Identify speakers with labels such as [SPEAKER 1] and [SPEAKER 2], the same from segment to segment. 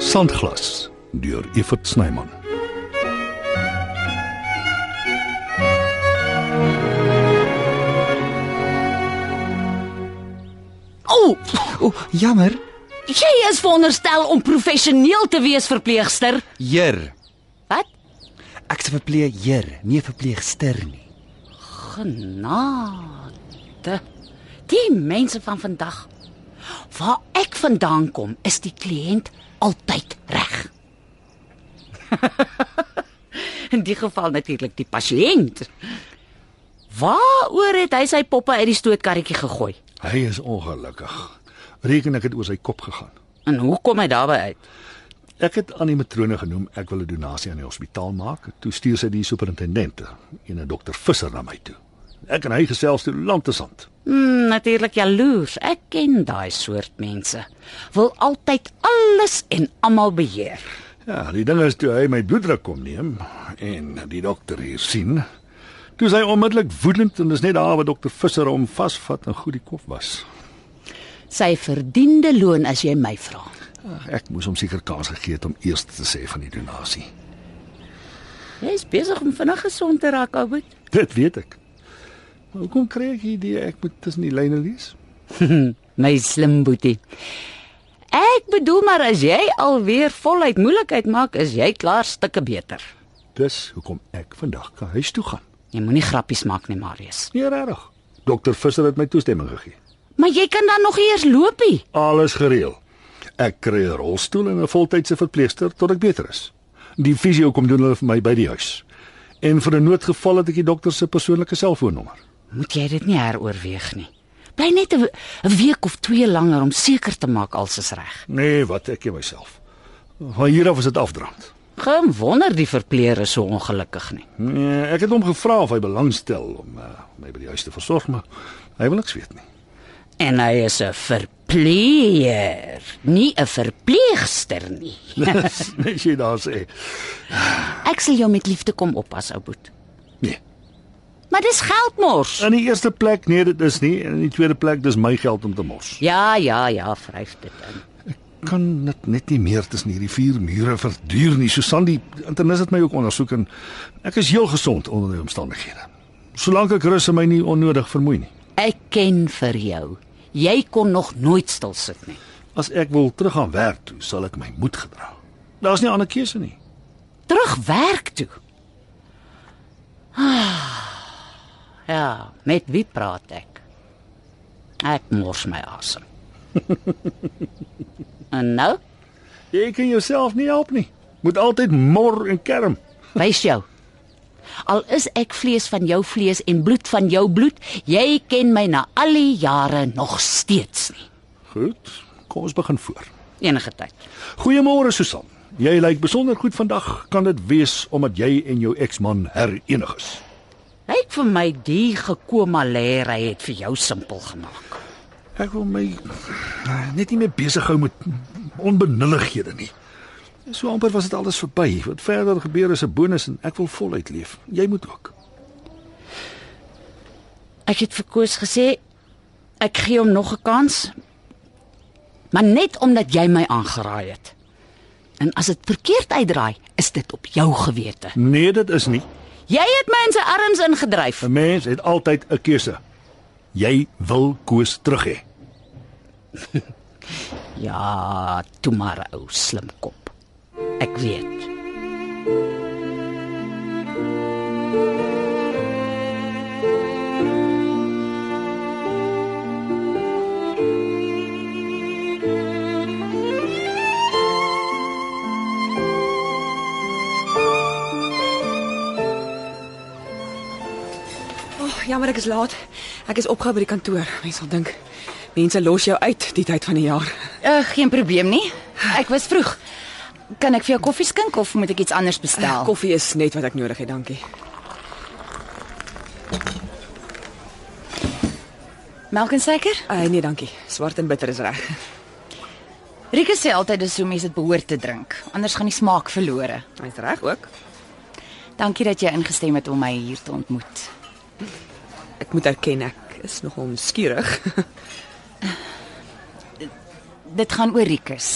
[SPEAKER 1] Sandglas deur Evert Snyman.
[SPEAKER 2] O,
[SPEAKER 3] O, jammer.
[SPEAKER 2] jy is veronderstel om professioneel te wees verpleegster.
[SPEAKER 3] Heer.
[SPEAKER 2] Wat?
[SPEAKER 3] Ek's 'n verpleegheer, nie 'n verpleegster nie.
[SPEAKER 2] Genade. Die mense van vandag. Waar ek vandaan kom, is die kliënt altyd reg. In die geval natuurlik die pasiënt. Waaroor het hy sy poppe uit die stootkarretjie gegooi?
[SPEAKER 1] Hy is ongelukkig. Reken ek het oor sy kop gegaan.
[SPEAKER 2] En hoe kom hy daarby uit?
[SPEAKER 1] Ek het aan die matrone genoem ek wil 'n donasie aan die hospitaal maak. Toe stuur sy die superintendent, een dokter Visser na my toe. Ek en hy gesels toe land te sand.
[SPEAKER 2] Hmm, natuurlik jaloers. Ek ken daai soort mense. Wil altyd alles en almal beheer.
[SPEAKER 1] Ja, die ding is toe hy my bloeddruk kom neem en die dokter hier sien, toe is hy onmiddellik woedend en dis net daar waar dokter Visser hom vasvat en goed die kop was.
[SPEAKER 2] Sy verdiende loon as jy my vra.
[SPEAKER 1] Ek moes hom seker kans gegee het om eers te sê van die donasie.
[SPEAKER 2] Jy's besig om vinnig gesond te raak, Oud.
[SPEAKER 1] Dit weet ek. Maar hoekom kry ek die idee ek moet tussen die lyne lees?
[SPEAKER 2] My slim boetie. Ek bedoel maar as jy alweer voluit moeilikheid maak, is jy klaar stukke beter.
[SPEAKER 1] Dis hoekom ek vandag kan huis toe gaan.
[SPEAKER 2] Jy moenie grappies maak nie, Marius.
[SPEAKER 1] Nee, regtig. Dokter Visser het my toestemming gegee.
[SPEAKER 2] Maar jy kan dan nog eers loopie.
[SPEAKER 1] Alles gereël. Ek kry 'n rolstoel en 'n voltydse verpleegster tot ek beter is. Die fisio kom doen hulle vir my by die huis. En vir 'n noodgeval het ek die dokter se persoonlike selfoonnommer.
[SPEAKER 2] Moet jy dit nie heroorweeg nie. Bly net 'n w- 'n week of 2 langer om seker te maak alles is reg.
[SPEAKER 1] Nee, wat ek en myself. Van hier af is dit afdraand.
[SPEAKER 2] Geen wonder die verpleer is so ongelukkig nie.
[SPEAKER 1] Nee, ek het hom gevra of hy belangstel om uh, my by die huis te versorg, maar hy wil niks weet nie.
[SPEAKER 2] En hy is 'n verpleer, nie 'n verpleegster nie.
[SPEAKER 1] Dis net jy daar sê.
[SPEAKER 2] Ek sal jou met liefde kom oppas, ou boet.
[SPEAKER 1] Nee.
[SPEAKER 2] Maar dis geldmors.
[SPEAKER 1] In die eerste plek nee, dit is nie en in die tweede plek dis my geld om te mors.
[SPEAKER 2] Ja, ja, ja, vryf dit in.
[SPEAKER 1] Kan dit net nie meer tussen hierdie vier mure verduur nie. Susan die internis het my ook ondersoek en ek is heel gesond onder die omstandighede. Solank ek rus en my nie onnodig vermoei nie.
[SPEAKER 2] Ek ken vir jou. Jy kon nog nooit stil sit nie.
[SPEAKER 1] As ek wil teruggaan werk toe, sal ek my moed gedra. Daar's nie ander keuse nie.
[SPEAKER 2] Terug werk toe. Ah, ja, met wie praat ek? Ek mors my asem. en nou,
[SPEAKER 1] Jy kan jouself nie help nie. Moet altyd mor en kerm.
[SPEAKER 2] wys jou. Al is ek vlees van jou vlees en bloed van jou bloed, jy ken my na al die jare nog steeds nie.
[SPEAKER 1] Goed, kom ons begin voor.
[SPEAKER 2] Enige tyd.
[SPEAKER 1] Goeiemôre Susan. Jy lyk besonder goed vandag. Kan dit wees omdat jy en jou eksman herenig is?
[SPEAKER 2] Lyk vir my die gekoma lêer hy het vir jou simpel gemaak.
[SPEAKER 1] Ek wil my net nie meer besig hou met onbenullighede nie. So amper was dit alles verby. Wat verder gebeur is 'n bonus en ek wil voluit leef. Jy moet ook.
[SPEAKER 2] Ek het vir Koos gesê ek gee hom nog 'n kans. Maar net omdat jy my aangeraai het. En as dit verkeerd uitdraai, is dit op jou gewete.
[SPEAKER 1] Nee, dit is nie.
[SPEAKER 2] Jy het my in sy arms ingedryf.
[SPEAKER 1] 'n Mens het altyd 'n keuse. Jy wil koes terug hê.
[SPEAKER 2] Ja, toe maar ou slimkop. Ek weet.
[SPEAKER 4] Oh, jammer ek is laat. Ek is opgehou by die kantoor. Mense sal dink mense los jou uit die tyd van die jaar.
[SPEAKER 5] Uh, geen probleem nie. Ek was vroeg. Kan ek vir jou koffie skink of moet ek iets anders bestel?
[SPEAKER 4] Koffie is net wat ek nodig het, dankie.
[SPEAKER 5] melk en suiker?
[SPEAKER 4] Uh, nee, dankie. Swart en bitter is reg.
[SPEAKER 5] Rika sê altyd dis hoe mense dit behoort te drink, anders gaan die smaak verlore.
[SPEAKER 4] Hy's reg ook.
[SPEAKER 5] Dankie dat jy ingestem het om my hier te ontmoet.
[SPEAKER 4] Ek moet erken ek is nogal nuuskierig.
[SPEAKER 5] Dit gaan oor Rikus.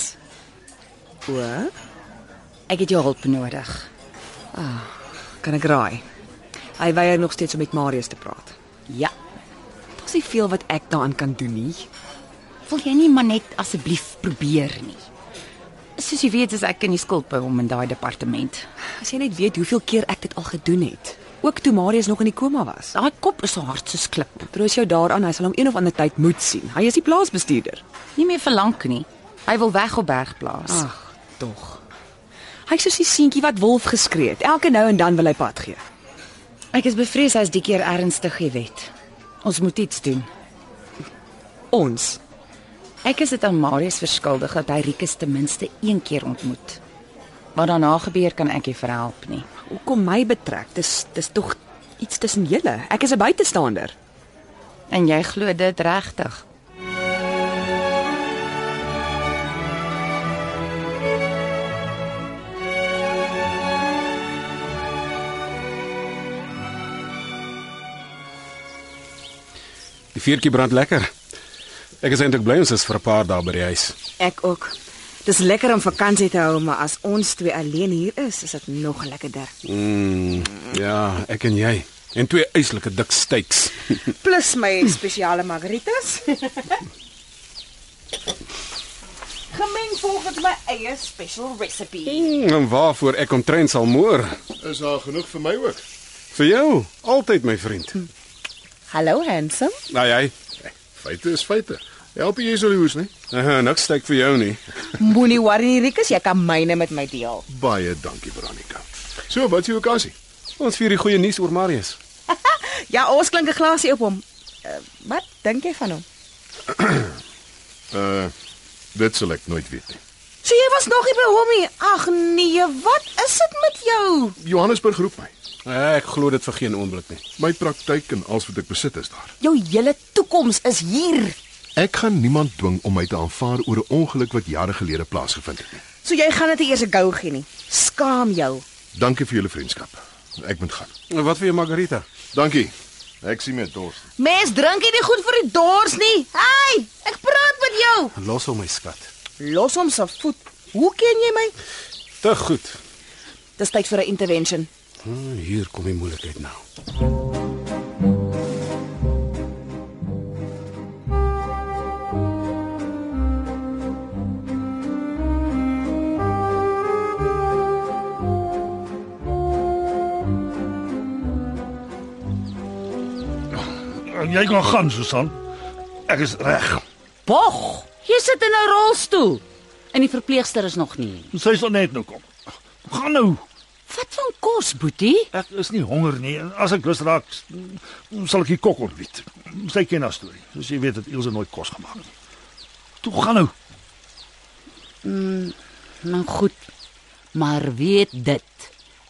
[SPEAKER 4] O,
[SPEAKER 5] Ek het jou hulp nodig.
[SPEAKER 4] kan ek raai. Hy weier nog steeds om met Marius te praat.
[SPEAKER 5] Ja.
[SPEAKER 4] Daar's nie veel wat ek daaraan kan doen nie.
[SPEAKER 5] Wil jy nie maar net asseblief probeer nie? Soos jy weet, is ek in die skuld by hom in daai departement.
[SPEAKER 4] As jy net weet hoeveel keer ek dit al gedoen het. Ook toe Marius nog in die koma was.
[SPEAKER 5] Daai kop is so hard soos klip.
[SPEAKER 4] Troos jou daaraan, hy sal hom een of ander tyd moet sien. Hy is die plaasbestuurder.
[SPEAKER 5] Nie meer verlang nie. Hy wil weg op bergplaas.
[SPEAKER 4] Ag, tog. Hy is soos die seentjie wat wolf geskree het. Elke nou en dan wil hy pad gee.
[SPEAKER 5] Ek is bevrees hy's die keer ernstig, jy weet. Ons moet iets doen.
[SPEAKER 4] Ons.
[SPEAKER 5] Ek is dit aan Marius verskuldig dat hy Rikus ten minste een keer ontmoet. Wat daarna gebeur kan ek nie verhelp nie.
[SPEAKER 4] Hoekom my betrek? Dis dis tog iets tussen julle. Ek is 'n buitestander.
[SPEAKER 5] En jy glo dit regtig?
[SPEAKER 6] Die vuurtjie brand lekker. Ek is eintlik bly ons is vir 'n paar dae by die huis.
[SPEAKER 7] Ek ook. Dis lekker om vakansie te hou, maar as ons twee alleen hier is, is dit nog lekkerder.
[SPEAKER 6] Mm, ja, ek en jy en twee yslike dik steaks.
[SPEAKER 7] Plus my spesiale margaritas. Gemeng volgens my eie special recipe.
[SPEAKER 6] Mm, en waarvoor ek omtrent sal moer.
[SPEAKER 8] Is daar genoeg vir my ook?
[SPEAKER 6] Vir jou, altyd my vriend.
[SPEAKER 7] Hallo handsome.
[SPEAKER 6] Nou jy,
[SPEAKER 8] Feite is feite. Help jy sou hoes, nee?
[SPEAKER 6] uh, niks steek vir jou nie.
[SPEAKER 7] Moenie worry nie, Rikus, jy kan myne met my deel.
[SPEAKER 8] Baie dankie, Veronica. So, wat is jou vakansie?
[SPEAKER 6] Ons vier die goeie nuus oor Marius.
[SPEAKER 7] Ja, ons klink 'n glasie op hom. Uh, wat dink jy van hom?
[SPEAKER 8] Uh dit sal ek nooit weet nie.
[SPEAKER 7] So jy was nog nie by hom nie. Ag nee, wat is dit met jou?
[SPEAKER 8] Johannesburg roep my.
[SPEAKER 6] Eh, Ek glo dit vir geen oomblik nie.
[SPEAKER 8] My praktyk en alles wat ek besit is daar.
[SPEAKER 7] Jou hele toekoms is hier.
[SPEAKER 8] Ek gaan niemand dwing om my te aanvaar oor 'n ongeluk wat jare gelede plaasgevind het nie.
[SPEAKER 7] So jy gaan dit nie eers 'n go gee nie. Skaam jou.
[SPEAKER 8] Dankie vir julle vriendskap. Ek moet gaan.
[SPEAKER 6] Wat vir jou Margarita?
[SPEAKER 8] Dankie. Ek sien my dors.
[SPEAKER 7] Mens drink nie die goed vir die dors nie. Hey, ek praat met jou.
[SPEAKER 6] Los hom my skat.
[SPEAKER 7] Los hom se voet. Hoe ken jy my?
[SPEAKER 6] Te goed.
[SPEAKER 7] Dis tyd vir 'n intervention.
[SPEAKER 6] Hmm, hier kom die moeilikheid nou.
[SPEAKER 1] Eh, Jy kan gaan, Susan. Ek is reg.
[SPEAKER 2] Bog, jy sit in 'n rolstoel. En die verpleegster is nog nie.
[SPEAKER 1] Sy sal net nou kom. Gaan nou.
[SPEAKER 2] Wat van kos, Boetie?
[SPEAKER 1] Ek is nie honger nie. En As ek lus raak, s- sal ek die kok ontbied. Sy ken haar storie. Soos jy weet het Ilse nooit kos gemaak nie. Toe gaan nou.
[SPEAKER 2] Nou goed. Maar weet dit,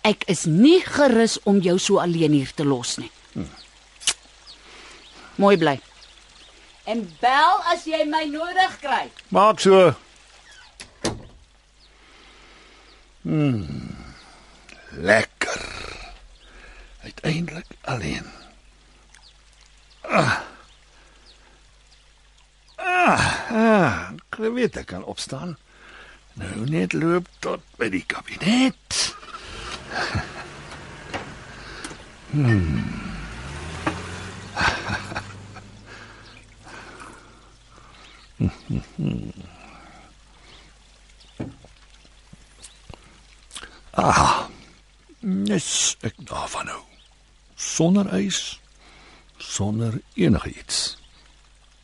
[SPEAKER 2] ek is nie gerus om jou so alleen hier te los nie.
[SPEAKER 5] Hmm.
[SPEAKER 2] Mooi bly. En bel as jy my nodig kry.
[SPEAKER 1] Maak so. Hmm. Hmm. Lekker. Uiteindelik alleen. Ah. Ah, ah Krewete kan opstaan. Nou net loop tot by die kabinet. Nes ek daarvan hou. Sonder ys, sonder enigiets.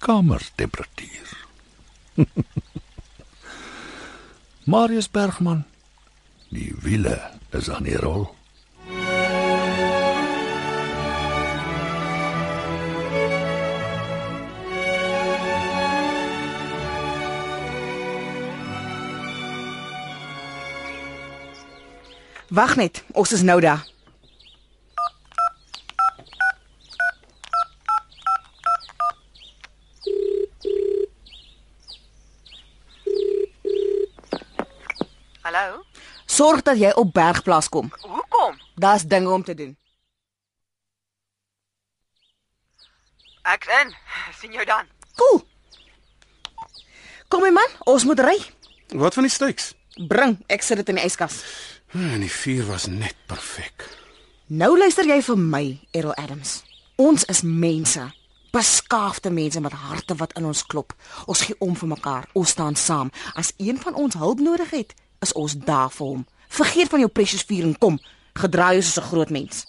[SPEAKER 1] Kamertemperatuur. Marius Bergman. Die wiele is aan die rol.
[SPEAKER 7] Wag net, ons is nou daar.
[SPEAKER 4] Hallo?
[SPEAKER 7] Sorg dat jy op Bergplaas kom.
[SPEAKER 4] Hoekom?
[SPEAKER 7] Daar's dinge om te doen.
[SPEAKER 4] Ek's in. sien jou dan.
[SPEAKER 7] Cool. Kom my man, ons moet ry.
[SPEAKER 6] Wat van die steaks?
[SPEAKER 7] Bring, ek sit dit in die yskas.
[SPEAKER 6] En die vuur was net perfek.
[SPEAKER 7] Nou luister jy vir my, Errol Adams. Ons is mense, beskaafde mense met harte wat in ons klop. Ons gee om vir mekaar, ons staan saam. As een van ons hulp nodig het, is ons daar vir hom. Vergeet van jou precious vuur en kom, gedra jou soos 'n groot mens.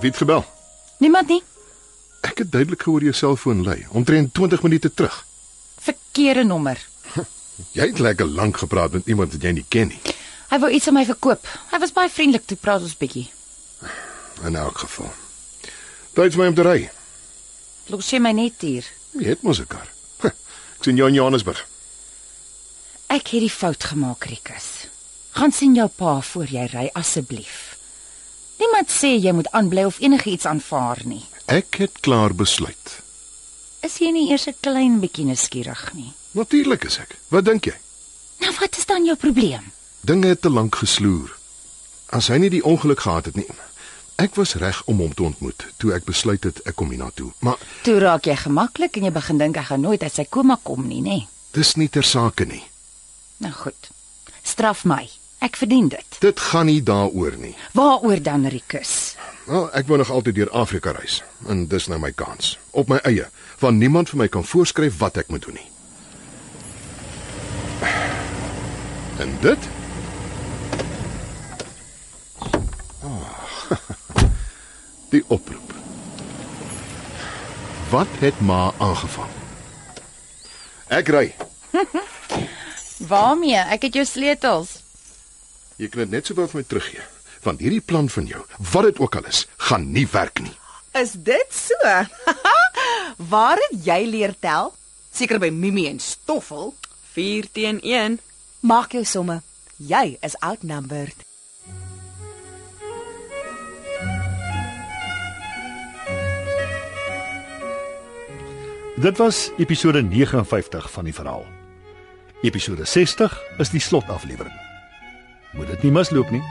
[SPEAKER 8] Wie het gebel?
[SPEAKER 2] Niemand nie.
[SPEAKER 8] Ek het duidelik gehoor jou selfoon lui, omtrent 20 minute terug.
[SPEAKER 2] Verkeerde nommer.
[SPEAKER 8] Jy het lekker lank gepraat met iemand wat jy nie ken nie.
[SPEAKER 2] Hy wou iets aan my verkoop. Hy was baie vriendelik toe praat ons bietjie.
[SPEAKER 8] In elk geval. Dit is my om te ry.
[SPEAKER 2] Los jy my net hier.
[SPEAKER 8] Jy het mos 'n kar. Huh, Ek sien jou in Johannesburg.
[SPEAKER 2] Ek het die fout gemaak, Rikus. Gaan sien jou pa voor jy ry asseblief. Niemand sê jy moet aanbly of enigiets aanvaar nie.
[SPEAKER 8] Ek het klaar besluit.
[SPEAKER 2] Is jy nie eers 'n klein bietjie nuuskierig nie?
[SPEAKER 8] Natuurlik is ek. Wat dink jy?
[SPEAKER 2] Nou wat is dan jou probleem?
[SPEAKER 8] Dinge het te lank gesloer. As hy nie die ongeluk gehad het nie. Ek was reg om hom te ontmoet toe ek besluit het ek kom hiernatoe, maar
[SPEAKER 2] Toe raak jy gemaklik en jy begin dink hy gaan nooit uit sy koma kom nie, nê?
[SPEAKER 8] dis nie ter sake nie.
[SPEAKER 2] Nou goed. Straf my. Ek verdien dit.
[SPEAKER 8] Dit gaan nie daaroor nie.
[SPEAKER 2] Waaroor dan, Rikus?
[SPEAKER 8] Wel, Nou, ek wou nog altyd deur Afrika reis en dis nou my kans op my eie, want niemand vir my kan voorskryf wat ek moet doen nie. En dit? Oh, Ah, die oproep. Wat het ma aangevang? Ek ry.
[SPEAKER 2] Waarmee? Ek het jou sleutels.
[SPEAKER 8] Jy kan dit net sowel vir my teruggee, want hierdie plan van jou, wat dit ook al is, gaan nie werk nie.
[SPEAKER 7] Is dit so? Waar het jy leer tel? Seker by Mimi en Stoffel.
[SPEAKER 9] 4 teen 1.
[SPEAKER 7] Maak jou somme. Jy is outnumbered.
[SPEAKER 1] Dit was episode 59 van die verhaal. Episode 60 is die slotaflewering. Moet dit nie misloop nie.